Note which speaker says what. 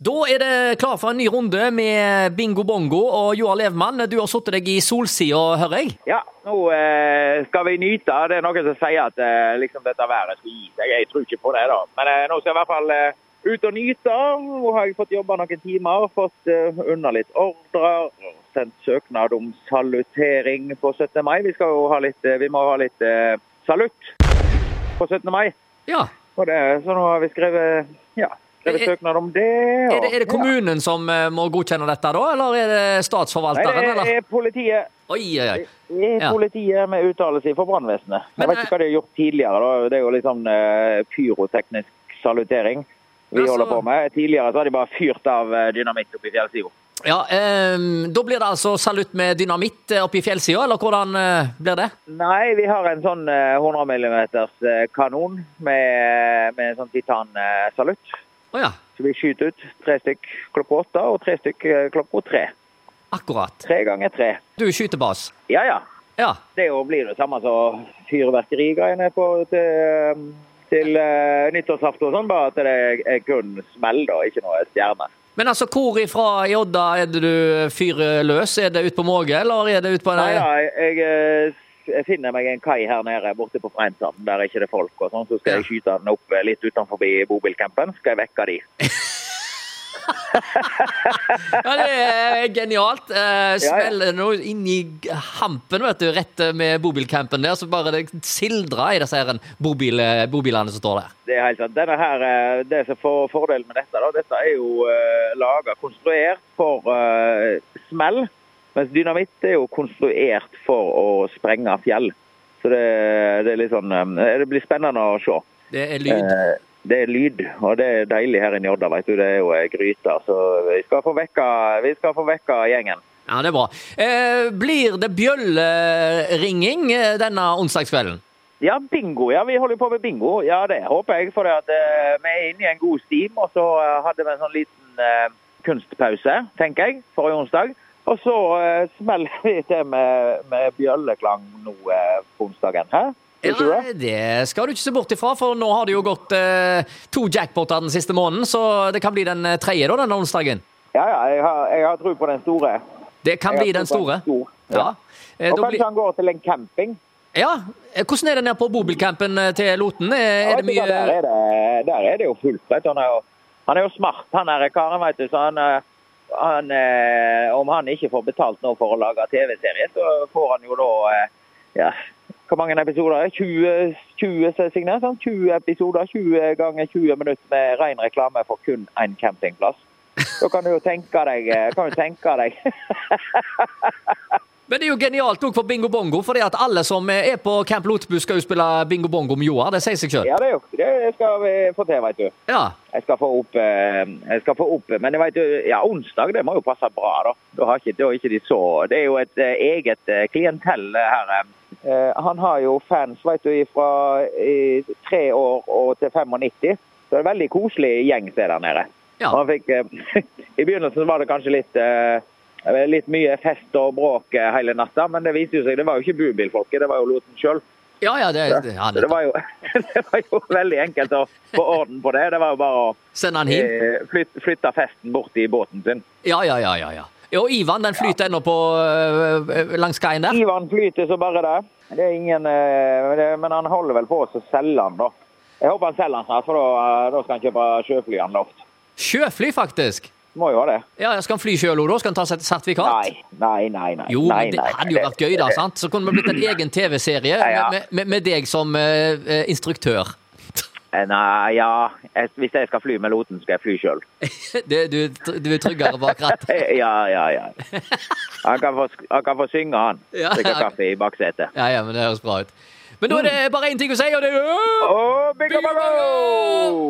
Speaker 1: Da er det klar for en ny runde med Bingo Bongo og Joar Levmann. Du har satt deg i solsida, hører jeg.
Speaker 2: Ja, nå eh, skal vi nyte. Det er noen som sier at eh, liksom dette været skal gi seg. Jeg tror ikke på det, da. Men eh, nå skal jeg i hvert fall eh, ut og nyte. Nå har jeg fått jobba noen timer, fått eh, unna litt ordrer. Sendt søknad om salutering på 17. mai. Vi, skal jo ha litt, eh, vi må ha litt eh, salutt på 17. mai.
Speaker 1: Ja.
Speaker 2: Og det, så nå har vi skrevet, ja, skrevet
Speaker 1: Er-
Speaker 2: søknad om det.
Speaker 1: Er
Speaker 2: og-
Speaker 1: det, er det kommunen som eh, må godkjenne dette, da? Eller er det
Speaker 2: Nei,
Speaker 1: statsforvalteren?
Speaker 2: det
Speaker 1: Eller?
Speaker 2: er politiet.
Speaker 1: Oi, oi, oi.
Speaker 2: I
Speaker 1: Ja.
Speaker 2: politiet med uttalelse fra brannvesenet. Jeg
Speaker 1: Men,
Speaker 2: vet ikke hva de har gjort tidligere. Da. Det er jo litt sånn eh, pyroteknisk salutering vi
Speaker 1: Altså-
Speaker 2: holder på med. Tidligere så har de bare fyrt av eh, dynamitt oppe i fjellsida.
Speaker 1: Ja, ehm, da blir det altså salutt med dynamitt eh, oppe i fjellsida, eller hvordan eh, blir det?
Speaker 2: Nei, vi har en sånn eh, 100 millimeters eh, kanon med, med en sånn titansalutt.
Speaker 1: Å ja,
Speaker 2: Så vi skyter ut tre stykk klokka åtte og tre stykk eh, klokka tre.
Speaker 1: akkurat.
Speaker 2: Tre ganger tre.
Speaker 1: Du er skytebas.
Speaker 2: Ja, ja.
Speaker 1: Ja.
Speaker 2: Det jo blir det samme som fyrverkerigreiene på til, ehm, til eh, nyttårsaften og sånn, bare at det er kun smell, da, ikke noe stjerne.
Speaker 1: Men altså, hvor ifra i Odda er det du fyrer løs? Er det ute på Måge, eller er det ute på
Speaker 2: Nei, ja, jeg, eh, jeg finner meg en kai her nede borte på Freinsand, der ikke det er folk og sånn, så skal jeg skyte den opp eh, litt utenfor bobilcampen, skal jeg vekke de.
Speaker 1: Ja, det er genialt. Eh,
Speaker 2: ja.
Speaker 1: smeller nå inn i hampen, vet du, rett med bobilcampen der, så bare det sildrer i disse her bobil, bobilene som står der.
Speaker 2: Det er helt sant. Denne her, eh, det som er fordelen med dette, da, dette er jo eh, laget, konstruert for eh, smell, mens dynamitt er jo konstruert for å sprenge fjell. Så det, det er litt sånn, eh, det blir spennende å se.
Speaker 1: Det er lyd.
Speaker 2: Eh, Det er lyd, og det er deilig her inne i Odda, vet du. Det er jo eh, gryter, så vi skal få vekka, vi skal få vekka gjengen.
Speaker 1: Ja, det er bra. Eh, blir det bjølleringing eh, denne onsdagskvelden?
Speaker 2: Ja, bingo. Ja, vi holder jo på med bingo. Ja, det håper jeg. For det at, eh, vi er inne i en god stim, og så eh, hadde vi en sånn liten eh, kunstpause, tenker jeg, forrige onsdag. Og så eh, smeller vi til med, med bjølleklang nå eh, på onsdagen. Hæ?
Speaker 1: Ja,
Speaker 2: Tror du det?
Speaker 1: det skal du ikke se bort ifra, for nå har det jo gått eh, to jackpoter den siste måneden, så det kan bli den eh, tredje da, denne onsdagen.
Speaker 2: Ja, ja. Jeg har, jeg har tro på den store.
Speaker 1: Det kan
Speaker 2: Jeg
Speaker 1: bli
Speaker 2: har tro
Speaker 1: den
Speaker 2: på
Speaker 1: store.
Speaker 2: stor.
Speaker 1: Ja. Eh,
Speaker 2: Og
Speaker 1: da
Speaker 2: kanskje
Speaker 1: blir-
Speaker 2: han går til en camping.
Speaker 1: ja. Eh, Hvordan er det nede på bobilcampen eh, til Loten? Eh, Er det
Speaker 2: Ja, altså, der,
Speaker 1: mye
Speaker 2: er det, der er det jo fullt. Vet du. Han, er jo, han er jo smart, han der karen, vet du. Så han, eh, han, eh, om han ikke får betalt nå for å lage TV-serie, så får han jo da eh, ja, Hvor mange episoder? er det? 20, 20 så er det signert, sant? 20 Sånn episoder, 20 ganger 20 minutter med ren reklame for kun én campingplass. Da kan du jo tenke deg, eh, kan du tenke deg.
Speaker 1: Men det er jo genialt òg for Bingo Bongo, fordi at alle som eh, er på Camp Lotbu, skal jo spille Bingo Bongo med Joar. Det sier seg sjøl.
Speaker 2: Ja, det, er jo, det skal vi få til, vet du.
Speaker 1: Ja.
Speaker 2: Jeg skal få opp, eh, jeg skal få opp Men jeg vet, jo, ja, onsdag det må jo passe bra, da. Da har ikke, da er ikke de så Det er jo et eh, eget eh, klientell eh, her. eh. Eh, han har jo fans vet du, fra tre år og til 95. Så det er en veldig koselig gjeng som er der nede.
Speaker 1: Ja.
Speaker 2: Og Han fikk, eh, I begynnelsen var det kanskje litt eh, Litt mye fest og bråk eh, hele natta, men det viste jo seg, det var jo ikke bubilfolket, det var jo Loten sjøl.
Speaker 1: Ja, ja, det, det, ja,
Speaker 2: Så det var, jo, det var jo veldig enkelt å få orden på det. Det var jo bare å
Speaker 1: Send han hjem.
Speaker 2: eh, flytt, flytta festen bort i båten sin.
Speaker 1: Ja, ja, ja. ja, ja. Og Ivan, den flyter ennå på eh, langs kaien der?
Speaker 2: Ivan flyter så bare det. det er ingen, eh, det, men han holder vel på å selge den, da. Jeg håper han selger den snart, for da, eh, da skal han kjøpe sjøflyanloft.
Speaker 1: Sjøfly, faktisk.
Speaker 2: Må jo ha det.
Speaker 1: Ja, ja, Skal han fly sjøl òg, da? Skal han ta seg et sertifikat?
Speaker 2: Nei, nei, nei. nei.
Speaker 1: Jo,
Speaker 2: nei,
Speaker 1: men det
Speaker 2: nei,
Speaker 1: hadde jo vært gøy, da. sant? Så kunne det blitt en egen TV-serie
Speaker 2: Ja, ja.
Speaker 1: med, med, med deg som eh, eh, instruktør.
Speaker 2: Eh, Nei, ja. Jeg, hvis jeg skal fly med Loten, skal jeg fly sjøl.
Speaker 1: Det, du, du er tryggere bak rattet.
Speaker 2: Ja, ja, ja. Han kan få, sk- han kan få synge, han.
Speaker 1: Ja.
Speaker 2: Drikke kaffe i baksetet.
Speaker 1: Ja, ja, men
Speaker 2: Mm.
Speaker 1: det høres bra ut. Men da er det bare én ting å si, og det er
Speaker 2: Og bygga
Speaker 1: Bingo!
Speaker 2: bango!